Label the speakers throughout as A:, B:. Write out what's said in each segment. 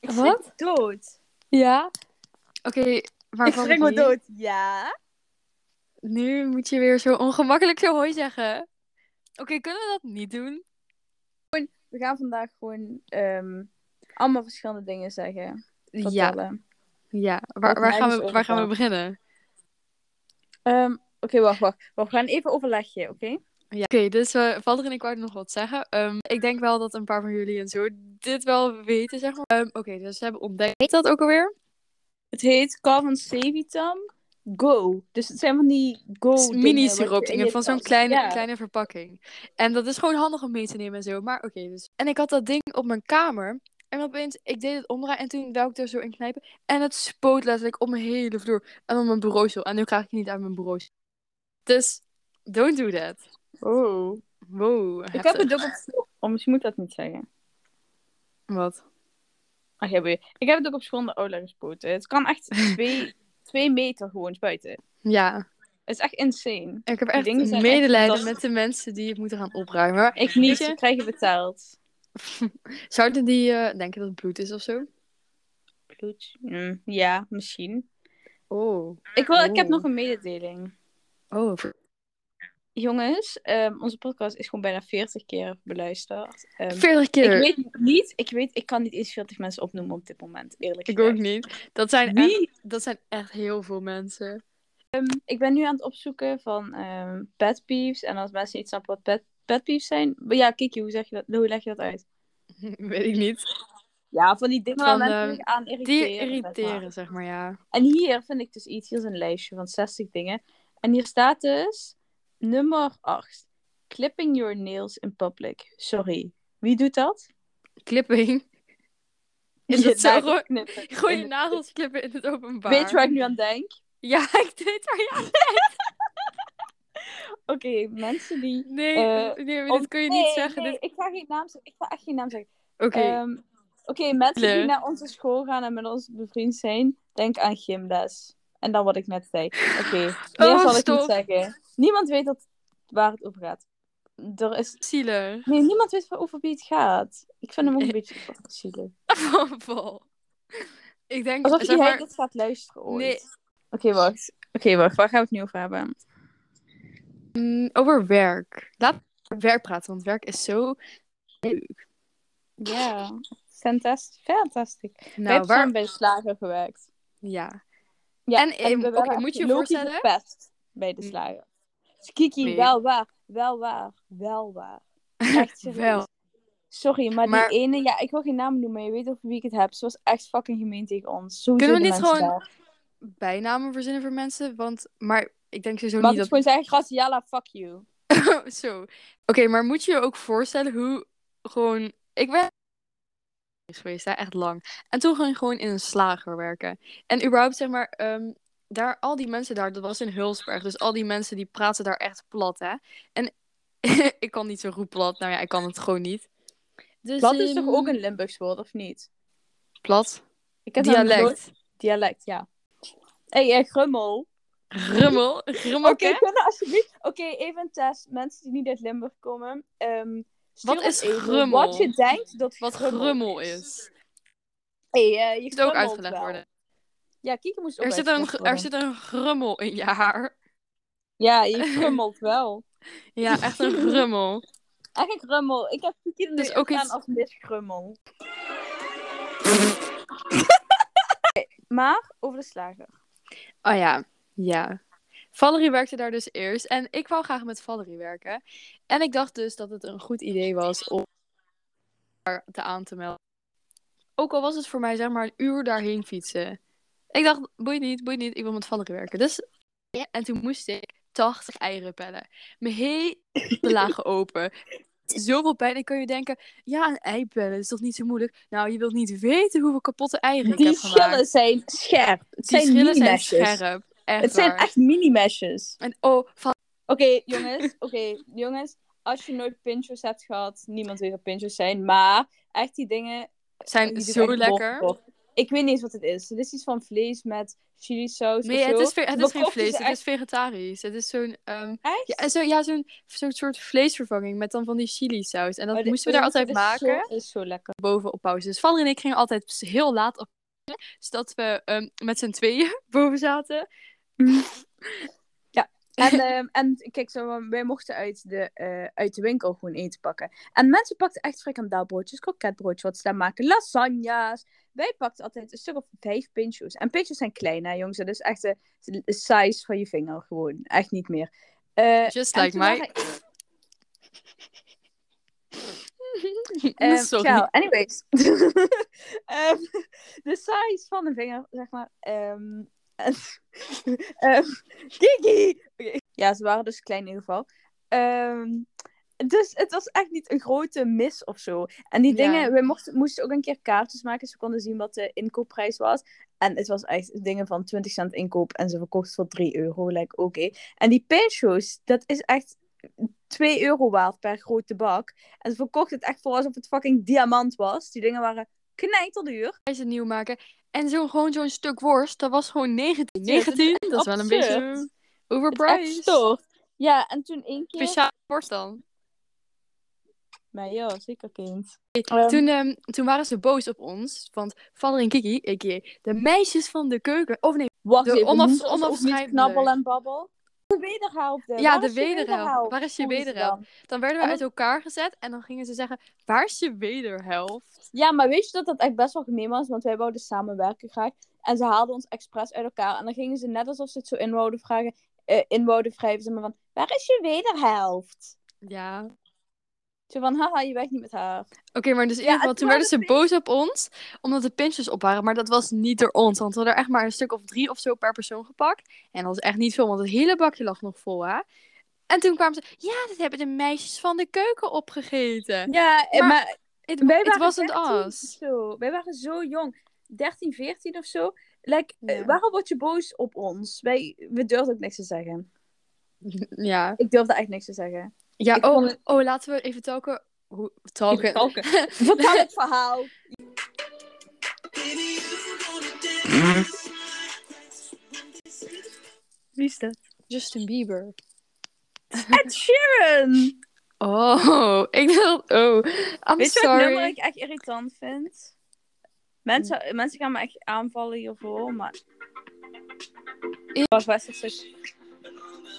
A: Wat?
B: schrik me dood.
A: Ja? Oké,
B: Ik
A: waarvan
B: schrik me
A: die?
B: dood. Ja.
A: Nu moet je weer zo ongemakkelijk zo hooi zeggen. Oké, kunnen we dat niet doen?
B: We gaan vandaag gewoon ehm, allemaal verschillende dingen zeggen.
A: Ja,
B: Vertellen.
A: ja. Waar,
B: Wat
A: waar,
B: mij
A: gaan
B: dus
A: we, waar gaan we
B: overkwam.
A: beginnen?
B: Ehm, Oké, wacht, wacht. We gaan even overleggen, oké?
A: Ja. Oké, dus eh Valder en ik wouden nog wat zeggen. Ehm, ik denk wel dat een paar van jullie en zo dit wel weten, zeg maar. Ehm, Oké, dus ze hebben ontdekt Heet dat ook alweer.
B: Het heet Calvin Sevitam Go. Dus het zijn van die go
A: Mini siroopdingen
B: Oh, dingen
A: van zo'n kleine, kleine verpakking. En dat is gewoon handig om mee te nemen en zo. Maar oké, dus. En ik had dat ding op mijn kamer. En opeens, ik deed het omdraaien en toen wou ik er zo in knijpen. En het spoot letterlijk op mijn hele vloer. En op mijn bureaustoel. En nu krijg ik het niet uit mijn bureaustoel. Dus, don't do that.
B: Oh.
A: Wow,
B: Ik heb
A: heftig.
B: het ook op... Oh, misschien moet ik dat niet zeggen.
A: Wat?
B: Ach, ja, boeien. ik heb het ook op school in de aula gespoten. Het kan echt twee, twee meter gewoon spuiten.
A: Ja,
B: Het is echt insane.
A: ik heb echt
B: dingen zijn echt
A: medelijden
B: fantastisch.
A: met de mensen die het moeten gaan opruimen. Maar
B: Ik niet,
A: Weet je?
B: ze krijgen betaald.
A: Zouden die eh, denken dat het bloed is of zo?
B: Bloed. Mm, ja, misschien.
A: Oh.
B: Ik, wil, ik heb
A: Oh.
B: nog een mededeling.
A: Oh, ver-
B: Jongens, ehm, onze podcast is gewoon bijna 40 keer beluisterd. Ehm,
A: 40
B: ik
A: keer. Ik,
B: weet niet, ik weet, ik kan niet eens 40 mensen opnoemen op dit moment, eerlijk
A: ook
B: gezegd.
A: niet. Dat zijn,
B: Wie?
A: echt, dat zijn echt heel veel mensen.
B: Ehm, ik ben nu aan het opzoeken van ehm pet peeves. En als mensen niet snappen wat pet, pet peeves zijn. Maar ja, Kiki, hoe, zeg je dat, hoe leg je dat uit?
A: Weet ik niet.
B: Ja, van die dingen waar
A: Van,
B: mensen
A: ehm,
B: zich aan
A: Die
B: irriteren. zeg maar.
A: irriteren, zeg maar, ja.
B: En hier vind ik dus iets. Hier is een lijstje van 60 dingen. En hier staat dus nummer 8. Clipping your nails in public. Sorry. Wie doet dat?
A: Clipping. Is dat zo?
B: nagels
A: Gooi-
B: knippen.
A: Gooi je
B: In-
A: nagels klippen in het openbaar.
B: Weet je waar ik nu aan denk?
A: Ja, ik weet waar je...
B: Oké, mensen die...
A: Nee,
B: Eh,
A: nee maar
B: om-
A: dit kun je
B: Nee,
A: niet zeggen.
B: nee,
A: dit-
B: ik ga geen naam zeggen. Ik ga echt geen naam zeggen.
A: Oké,
B: Ehm, Oké, mensen die
A: Leuk.
B: naar onze school gaan en met ons bevriend zijn, denk aan gymles. En dan wat ik net zei. Oké, meer
A: Oh,
B: zal ik
A: stop.
B: niet zeggen. Niemand weet dat, waar het over gaat. Er is...
A: zielig.
B: Nee, niemand weet waar- over wie het gaat. Ik vind hem ook een beetje zielig.
A: Vol. ik denk...
B: Alsof
A: zeg
B: jij
A: maar-
B: dit gaat luisteren ooit.
A: Nee.
B: Oké, wacht. Oké, wacht. Waar gaan we het nu over hebben?
A: Mm, Over werk. Laat over werk praten, want werk is zo.
B: Ja, fantastisch. Fantastisch. Nou,
A: Nou, waar...
B: bij slager gewerkt.
A: Ja.
B: Ja,
A: En, ehm,
B: we
A: oké,
B: werden
A: moet je je
B: logisch
A: voorstellen? Mm.
B: gepest bij de slager. Dus Kiki,
A: Nee.
B: wel waar, wel waar, wel waar. Echt serieus.
A: Wel.
B: Sorry, maar,
A: Maar-
B: die ene, ja, ik wil geen naam noemen, maar je weet over wie ik het heb. Ze was echt fucking gemeen tegen ons. Zo
A: Kunnen we
B: zitten
A: niet
B: mensen
A: gewoon
B: daar.
A: Bijnamen verzinnen voor mensen, want. Maar ik denk sowieso
B: Mag ik
A: niet
B: gewoon zeggen, Graciela, fuck you.
A: dat. zo. Oké, maar moet je je ook voorstellen hoe gewoon. Ik ben is geweest, hè, echt lang. En toen ging ik gewoon in een slager werken. En überhaupt, zeg maar, ehm, daar, al die mensen daar, dat was in Hulsberg. Dus al die mensen die praten daar echt plat, hè. En ik kan niet zo goed plat. Nou ja, ik kan het gewoon niet. Dus,
B: Dat is toch
A: ehm,
B: ook een Limburgs woord, of niet?
A: plat?
B: Ik heb namelijk nooit-
A: Dialect.
B: Dialect, ja. Hé, hey, eh, grummel.
A: Grummel. Grummel,
B: Oké, kunnen we alsjeblieft... Oké, even een test. Mensen die niet uit Limburg komen. ehm, stuur
A: Wat
B: ons
A: is
B: even
A: grummel?
B: Wat je denkt dat
A: Wat grummel is.
B: Hey, eh, je
A: Het moet ook
B: grummelt
A: uitgelegd
B: wel.
A: worden.
B: Ja, Kieke moest ook
A: Er zit, een,
B: uitgelegd
A: gr-
B: worden.
A: er zit een grummel in je haar.
B: Ja, je grummelt wel.
A: Ja, echt een grummel.
B: Eigenlijk grummel. Ik heb Kieke er
A: Dus
B: dus
A: ook
B: ook aan
A: iets-
B: als misgrummel. Oké, maar over de slager.
A: Oh ja, ja. Valerie werkte daar dus eerst. En ik wou graag met Valerie werken. En ik dacht dus dat het een goed idee was om haar te aan te melden. Ook al was het voor mij zeg maar een uur daarheen fietsen. Ik dacht, boeit niet, boeit niet, ik wil met Valerie werken. Dus, en toen moest ik 80 eieren pellen. Mijn hele lagen open. Zoveel pijn. En kan je denken, ja, een ei pellen is toch niet zo moeilijk? Nou, je wilt niet weten hoeveel kapotte eieren ik
B: Die
A: heb gemaakt.
B: schillen zijn scherp. Het
A: Die
B: zijn
A: schillen zijn
B: mini-mesjes.
A: scherp. Echt
B: Het zijn
A: waar.
B: echt mini-mesjes.
A: En oh,
B: Oké, jongens. Oké, jongens. Als je nooit pinchos hebt gehad, niemand weet wat pinchos zijn. Maar echt die dingen...
A: zijn
B: Oh, die doen
A: zo
B: echt
A: lekker.
B: bol- bol. Ik weet niet eens wat het is. Het is iets van vlees met chili saus
A: Nee,
B: of
A: het
B: zo.
A: is, ve- het
B: Maar
A: is geen
B: kocht je
A: vlees,
B: ze
A: het is vegetarisch. Het is zo'n ehm,
B: Echt?
A: ja, zo, ja, zo'n zo'n soort vleesvervanging met dan van die chili saus. En dat
B: Oh, dit-
A: moesten we daar
B: dit-
A: altijd
B: dit is zo-
A: maken.
B: dit is zo lekker.
A: boven op pauze. Dus Valerie en ik gingen altijd heel laat op zodat we ehm, met z'n tweeën boven zaten.
B: En, ehm, en kijk, zo, wij mochten uit de, eh, uit de winkel gewoon eten pakken. En mensen pakten echt frikandelbroodjes, kroketbroodjes, wat ze daar maken, lasagna's. Wij pakten altijd een stuk of vijf pinchos. En pinchos zijn klein, hè, jongens. Dat is echt de de size van je vinger, gewoon. Echt niet meer. Eh,
A: Just
B: en
A: like
B: toen
A: my...
B: waren-
A: Eh,
B: Ehm,
A: Sorry.
B: ciao. anyways. Ehm, de size van een vinger, zeg maar. ehm, en- ehm, Kiki! Oké. Ja, ze waren dus klein in ieder geval. Ehm, dus het was echt niet een grote mis of zo. En die
A: Ja.
B: dingen, we mochten, moesten ook een keer kaartjes maken, ze konden zien wat de inkoopprijs was. En het was echt dingen van 20 cent inkoop en ze verkocht voor 3 euro. Like, oké. En die pinchos, dat is echt 2 euro waard per grote bak. En ze verkocht het echt voor alsof het fucking diamant was. Die dingen waren knijterduur.
A: Hij het nieuw maken. En zo, gewoon zo'n stuk worst, dat was gewoon 19.
B: Ja, dat is
A: 19? dat is wel een
B: absurd.
A: beetje
B: Echt
A: overpriced.
B: stoort. Ja, en toen één keer...
A: Speciaal worst dan.
B: Maar ja, zeker kind.
A: Toen, ehm, toen waren ze boos op ons, want Valerie en Kiki, a.k.a. de meisjes van de keuken... Of nee,
B: Wacht
A: de
B: even,
A: onaf-
B: moeten we ons ook niet
A: onafscheidelijk.
B: knabbel en babbel? De wederhelp. de-
A: Ja,
B: Eh, Waar
A: de
B: is je
A: wederhelp? Waar is je
B: Voelden ze
A: wederhelp?
B: dan?
A: dan werden we
B: En
A: uit elkaar gezet en dan gingen ze zeggen... Waar is je wederhelft?
B: Ja, maar weet je dat dat echt best wel gemeen was? Want wij wouden samenwerken graag. En ze haalden ons expres uit elkaar. En dan gingen ze net alsof ze het zo in wouden vragen... eh in wouden wrijven. Ze maar van, waar is je wederhelft?
A: Ja,
B: Zo van, haha, je werkt niet met haar.
A: Oké, maar dus in
B: Ja,
A: ieder geval,
B: het
A: toen werden ze
B: waren
A: boos op ons, omdat de pintjes op waren. Maar dat was niet door ons, want we hadden er echt maar een stuk of drie of zo per persoon gepakt. En dat was echt niet veel, want het hele bakje lag nog vol, hè. En toen kwamen ze, ja, dat hebben de meisjes van de keuken opgegeten.
B: Ja,
A: Maar-
B: maar
A: Het
B: Wij
A: was
B: waren
A: wasn't
B: 13 of
A: us.
B: Zo. Wij waren zo jong. 13, 14 of zo. Like, eh,
A: Ja.
B: waarom word je boos op ons? Wij, we durfden ook niks te zeggen.
A: Ja,
B: Ik durfde echt niks te zeggen.
A: ja
B: Ik
A: oh,
B: vond het-
A: oh, laten we even talken. Hoe, talken.
B: Vertel het verhaal. Wie is dat?
A: Justin Bieber.
B: Ed Sheeran!
A: Oh, ik dacht, oh, I'm
B: Weet je wat
A: sorry.
B: nummer ik echt irritant vind? Mensen, mensen gaan me echt aanvallen hiervoor, maar... Wat was dat zo?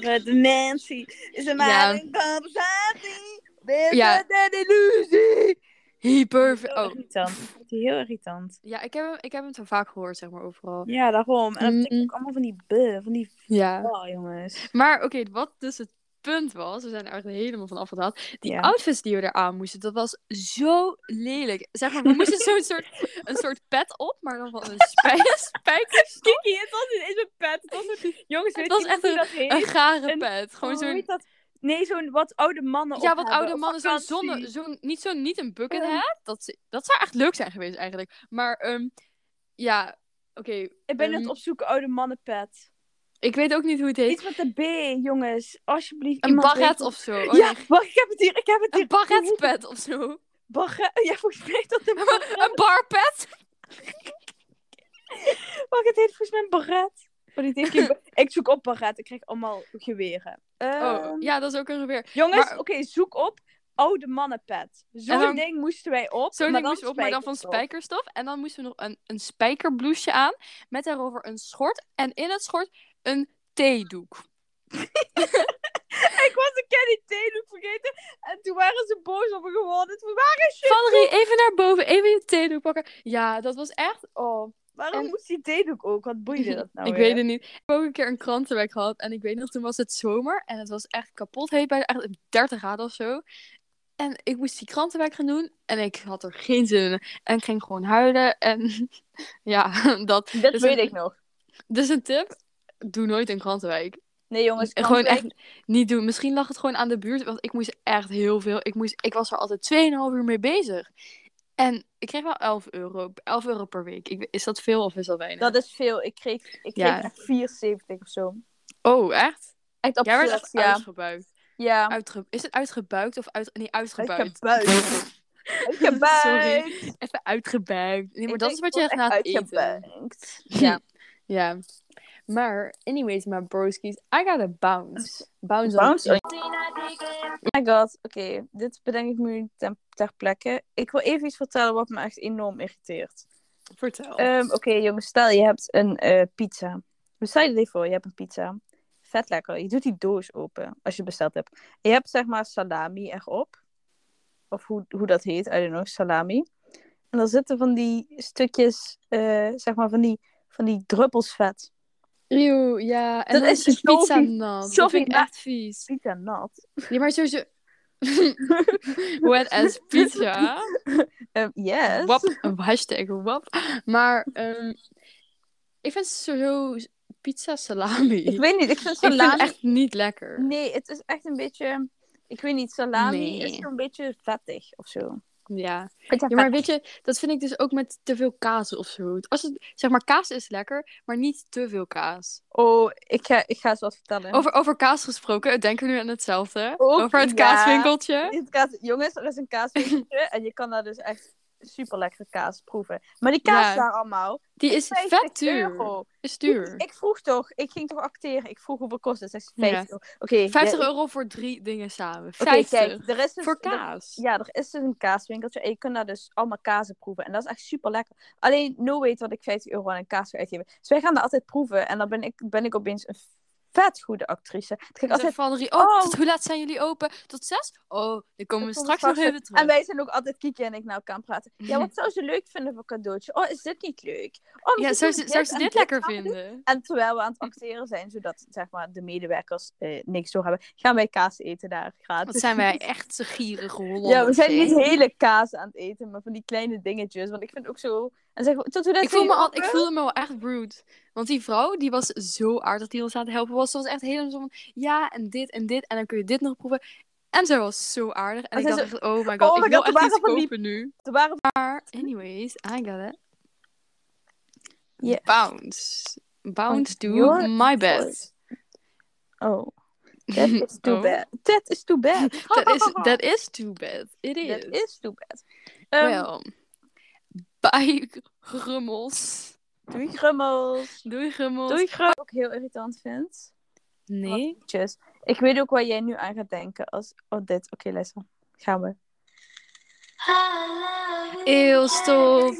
B: De Nancy is een
A: Ja.
B: maar een conversatie. Dit
A: Ja.
B: is een illusie.
A: Hyper.
B: Heel
A: Oh,
B: irritant. Ik vind die heel irritant.
A: ja, ik heb, hem- ik heb hem zo vaak gehoord, zeg maar, overal.
B: Ja, daarom. En dan
A: Mm,
B: denk ik allemaal van die buh, van die
A: Ja.
B: wow, jongens.
A: Maar oké, wat dus het punt was, we zijn er eigenlijk helemaal van afgedaald. Die
B: Ja.
A: outfits die we eraan moesten, dat was zo lelijk. Zeg maar, we moesten zo'n soort, een soort pet op, maar dan van een spij spijkers.
B: Kiki, het was niet eens een pet. Het was een... Jongens,
A: Het
B: weet
A: was
B: je
A: echt
B: hoe dat heet?
A: Een garen
B: Een-
A: pet. Gewoon
B: Hoe
A: zo'n,
B: heet dat? Nee, zo'n wat oude mannen
A: ja,
B: op
A: wat
B: hebben,
A: oude
B: op
A: mannen, zo'n
B: vakantie. Ehm.
A: zonne, zo'n, niet zo'n, niet een bucket
B: Ja.
A: hat. Dat, ze- dat zou echt leuk zijn geweest eigenlijk. Maar, ehm, ja, oké.
B: Ik ben
A: Ehm,
B: aan het opzoeken, oude mannenpet.
A: Ik weet ook niet hoe het heet.
B: Iets met de B, jongens. Alsjeblieft,
A: Een
B: iemand
A: barret
B: weet het.
A: of zo. Oh,
B: ja,
A: nee.
B: wacht, ik heb het hier, ik heb het hier.
A: Een barretpet of zo.
B: Barret, ja, volgens mij is dat een barret.
A: Een barpet.
B: Wacht, het heet volgens mij een barret. Maar dit heeft geen- ik zoek op barret, ik krijg allemaal geweren.
A: Oh,
B: Ehm,
A: ja, dat is ook een geweer.
B: Jongens,
A: maar-
B: oké, zoek op oude mannenpet. Zo'n
A: En dan-
B: ding moesten wij op.
A: Zo'n
B: maar
A: ding
B: dan
A: moesten we op, maar dan van
B: spijkerstof.
A: spijkerstof. En dan moesten we nog een, een spijkerbloesje aan. Met daarover een schort. En in het schort een theedoek.
B: Ik was een Kenny theedoek vergeten. En toen waren ze boos op me geworden. Toen, waar,
A: Valerie, even naar boven. Even je theedoek pakken. Ja, dat was echt... Oh,
B: waarom
A: En-
B: moest die theedoek ook? Wat boeide dat nou
A: ik
B: weer?
A: weet het niet. Ik heb ook een keer een krantenwerk gehad. En ik weet nog, toen was het zomer. En het was echt kapot heet. Bij echt 30 graden of zo. En ik moest die krantenwerk gaan doen. En ik had er geen zin in. En ik ging gewoon huilen. En ja, dat.
B: Dat
A: Dus
B: weet
A: een-
B: ik nog.
A: Dus een tip. Doe nooit een krantenwijk.
B: Nee, jongens.
A: En gewoon echt niet doen. Misschien lag het gewoon aan de buurt, want ik moest echt heel veel. Ik, moest, ik was er altijd 2,5 uur mee bezig. En ik kreeg wel 11 euro, 11 euro per week. Ik, is dat veel of is dat weinig?
B: Dat is veel. Ik kreeg, ik kreeg
A: Ja.
B: echt 74 of zo.
A: Oh, echt?
B: Echt
A: Jij werd
B: absurd,
A: echt
B: ja.
A: uitgebuikt.
B: Ja.
A: Uitge- Is het uitgebuikt of uit... Nee, uitgebuit.
B: Uitgebuit.
A: Sorry.
B: Uitgebuikt.
A: Even uitgebuikt. Nee, maar
B: Ik
A: dat
B: denk,
A: is wat
B: ik
A: je echt
B: word
A: na het eten.
B: uitgebuikt.
A: Ja. ja. Maar, anyways, my broskies, I gotta bounce. Bounce,
B: Bounce
A: on.
B: Oh my god, oké. Dit bedenk ik me nu ter, ter plekke. Ik wil even iets vertellen wat me echt enorm irriteert.
A: Vertel.
B: Ehm, oké, jongens, stel je hebt een eh, pizza. We stellen je dit voor, je hebt een pizza. Vet lekker. Je doet die doos open als je het besteld hebt. Je hebt zeg maar salami erop. Of hoe, hoe dat heet, I don't know, salami. En dan zitten van die stukjes, eh, zeg maar van die, van die druppels vet.
A: Eeuw, ja. En
B: Dat
A: dan
B: is
A: is de
B: zo
A: pizza
B: vies.
A: nat.
B: Zo
A: Dat vind ik
B: vies.
A: echt vies.
B: Pizza nat.
A: Ja, maar sowieso... Wet as pizza.
B: Ehm, yes.
A: Wap. Hashtag wap. Maar, ehm, ik vind sowieso pizza salami.
B: Ik weet niet, ik vind
A: Ik
B: salami...
A: vind het echt niet lekker.
B: Nee, het is echt een beetje. Ik weet niet, salami is
A: Nee.
B: zo'n beetje vettig of zo.
A: Ja. ja, maar weet je, dat vind ik dus ook met te veel kaas of zo. Als het, zeg maar, kaas is lekker, maar niet te veel kaas.
B: Oh, ik ga, ik ga eens wat vertellen.
A: Over, over kaas gesproken, denken we nu aan hetzelfde.
B: Ook,
A: over het
B: ja.
A: kaaswinkeltje.
B: Dit kaas, jongens, er is een kaaswinkeltje en je kan daar dus echt super lekkere kaas proeven. Maar die kaas
A: Ja.
B: daar allemaal
A: Die is
B: 50
A: vet duur.
B: euro.
A: Is duur.
B: Ik vroeg toch, ik ging toch acteren. Ik vroeg hoeveel kost het? Zegt ze
A: Ja.
B: 50 euro. Oké,
A: 50
B: ja, ik-
A: euro voor drie dingen samen.
B: Oké,
A: 50
B: kijk, er is dus,
A: voor
B: er-
A: kaas.
B: Ja, er is dus een kaaswinkeltje en je kunt daar dus allemaal kazen proeven. En dat is echt super lekker. Alleen, no weet dat ik 50 euro aan een kaas ga uitgeven. Dus wij gaan daar altijd proeven. En dan ben ik, ben ik opeens een vet goede actrice. Dan ga ik
A: Dan zegt
B: altijd...
A: Valerie, oh,
B: Oh.
A: tot hoe laat zijn jullie open? Tot zes? Oh, dan komen we
B: Kom
A: straks nog even terug.
B: En wij zijn ook altijd Kiki en ik naar elkaar aan het praten. Ja, wat zou ze leuk vinden voor cadeautje? Oh, is dit niet leuk? Oh,
A: Ja,
B: misschien
A: zou
B: kunnen
A: ze,
B: we
A: zou ze
B: en
A: dit lekker
B: samen doen.
A: vinden?
B: En terwijl we aan het acteren zijn, zodat zeg maar, de medewerkers eh, niks door hebben, gaan wij kaas eten daar gratis.
A: Wat zijn wij echt zo gierige Hollanders.
B: Ja, we zijn
A: hè?
B: niet hele kaas aan het eten, maar van die kleine dingetjes. Want ik vind ook zo. En zeg, tot hoe dat
A: Ik, voel me al, ik voelde me wel echt rude. Want die vrouw, die was zo aardig die ons aan het helpen was. Ze was echt helemaal zo van, ja, en dit en dit. En dan kun je dit nog proeven. En zij was zo aardig. En
B: En
A: ik
B: zij
A: dacht echt, oh my god,
B: oh my
A: ik
B: god,
A: wil
B: er
A: echt iets
B: waren van die-
A: kopen nu.
B: Er waren
A: Maar anyways, I got it.
B: Yes.
A: Bounce. Bounce to
B: Your
A: my
B: voice.
A: bed.
B: Oh, that is too
A: Oh.
B: bad. That is too bad.
A: That is, that is too bad. It is.
B: That is too bad. Ehm,
A: Wel. Bye, grummels.
B: Doei, grummels.
A: Doei, grummels.
B: Doei, grummels. Wat ik ook heel irritant vind.
A: Nee.
B: Tjus. Ik weet ook waar jij nu aan gaat denken. Als... Oh, dit. Oké, Lessa. Gaan we.
A: Eeuw, stop.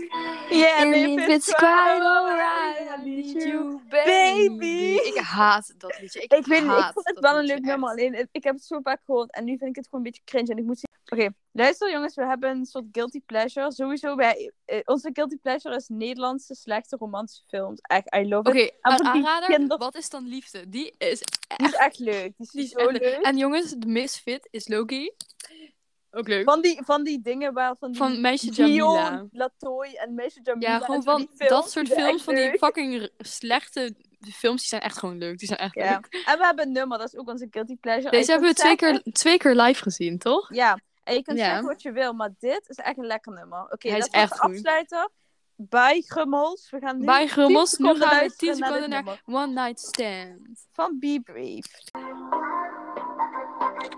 B: Yeah,
A: And
B: baby,
A: if it's quite alright, oh, I need you, baby.
B: baby.
A: Ik haat dat liedje. Ik,
B: Ik weet niet, ik
A: haat
B: vond het
A: dat
B: wel een
A: liedje
B: leuk nummer,
A: echt.
B: alleen het- ik heb het zo vaak gehoord en nu vind ik het gewoon een beetje cringe en ik moet zien. Oké, luister jongens, we hebben een soort guilty pleasure. Sowieso, wij, eh, onze guilty pleasure is Nederlandse slechte romantische films. Echt, I love it.
A: Oké,
B: voor
A: een
B: die
A: aanrader.
B: kinder-
A: Wat is dan liefde? Die is
B: Die is echt leuk. Die is,
A: die is
B: zo
A: echt-
B: leuk.
A: En jongens, de misfit is Loki. Ook leuk.
B: Van die, van die dingen waar van die
A: Van meisje Jamila.
B: Dion, Latoy en Meisje Jamila.
A: Ja,
B: en
A: gewoon
B: zo die
A: van
B: films,
A: dat soort
B: die zijn
A: films,
B: echt
A: van die
B: leuk.
A: fucking r- slechte films, die zijn echt gewoon leuk. Die zijn echt
B: Ja.
A: leuk.
B: En we hebben een nummer, dat is ook onze guilty pleasure. En je
A: Deze hebben we
B: kunt
A: twee keer,
B: zeggen-
A: twee keer live gezien, toch?
B: Ja, en je kunt
A: Ja.
B: zeggen wat je wil, maar dit is echt een lekker nummer. Oké,
A: Hij is
B: dat was
A: echt
B: de
A: goed.
B: afsluiter. Bye, Grummels. We gaan nu
A: Bij Grummels, nu gaan we 10
B: naar
A: seconden
B: dit
A: naar
B: nummer
A: One Night Stand.
B: van Be Brave.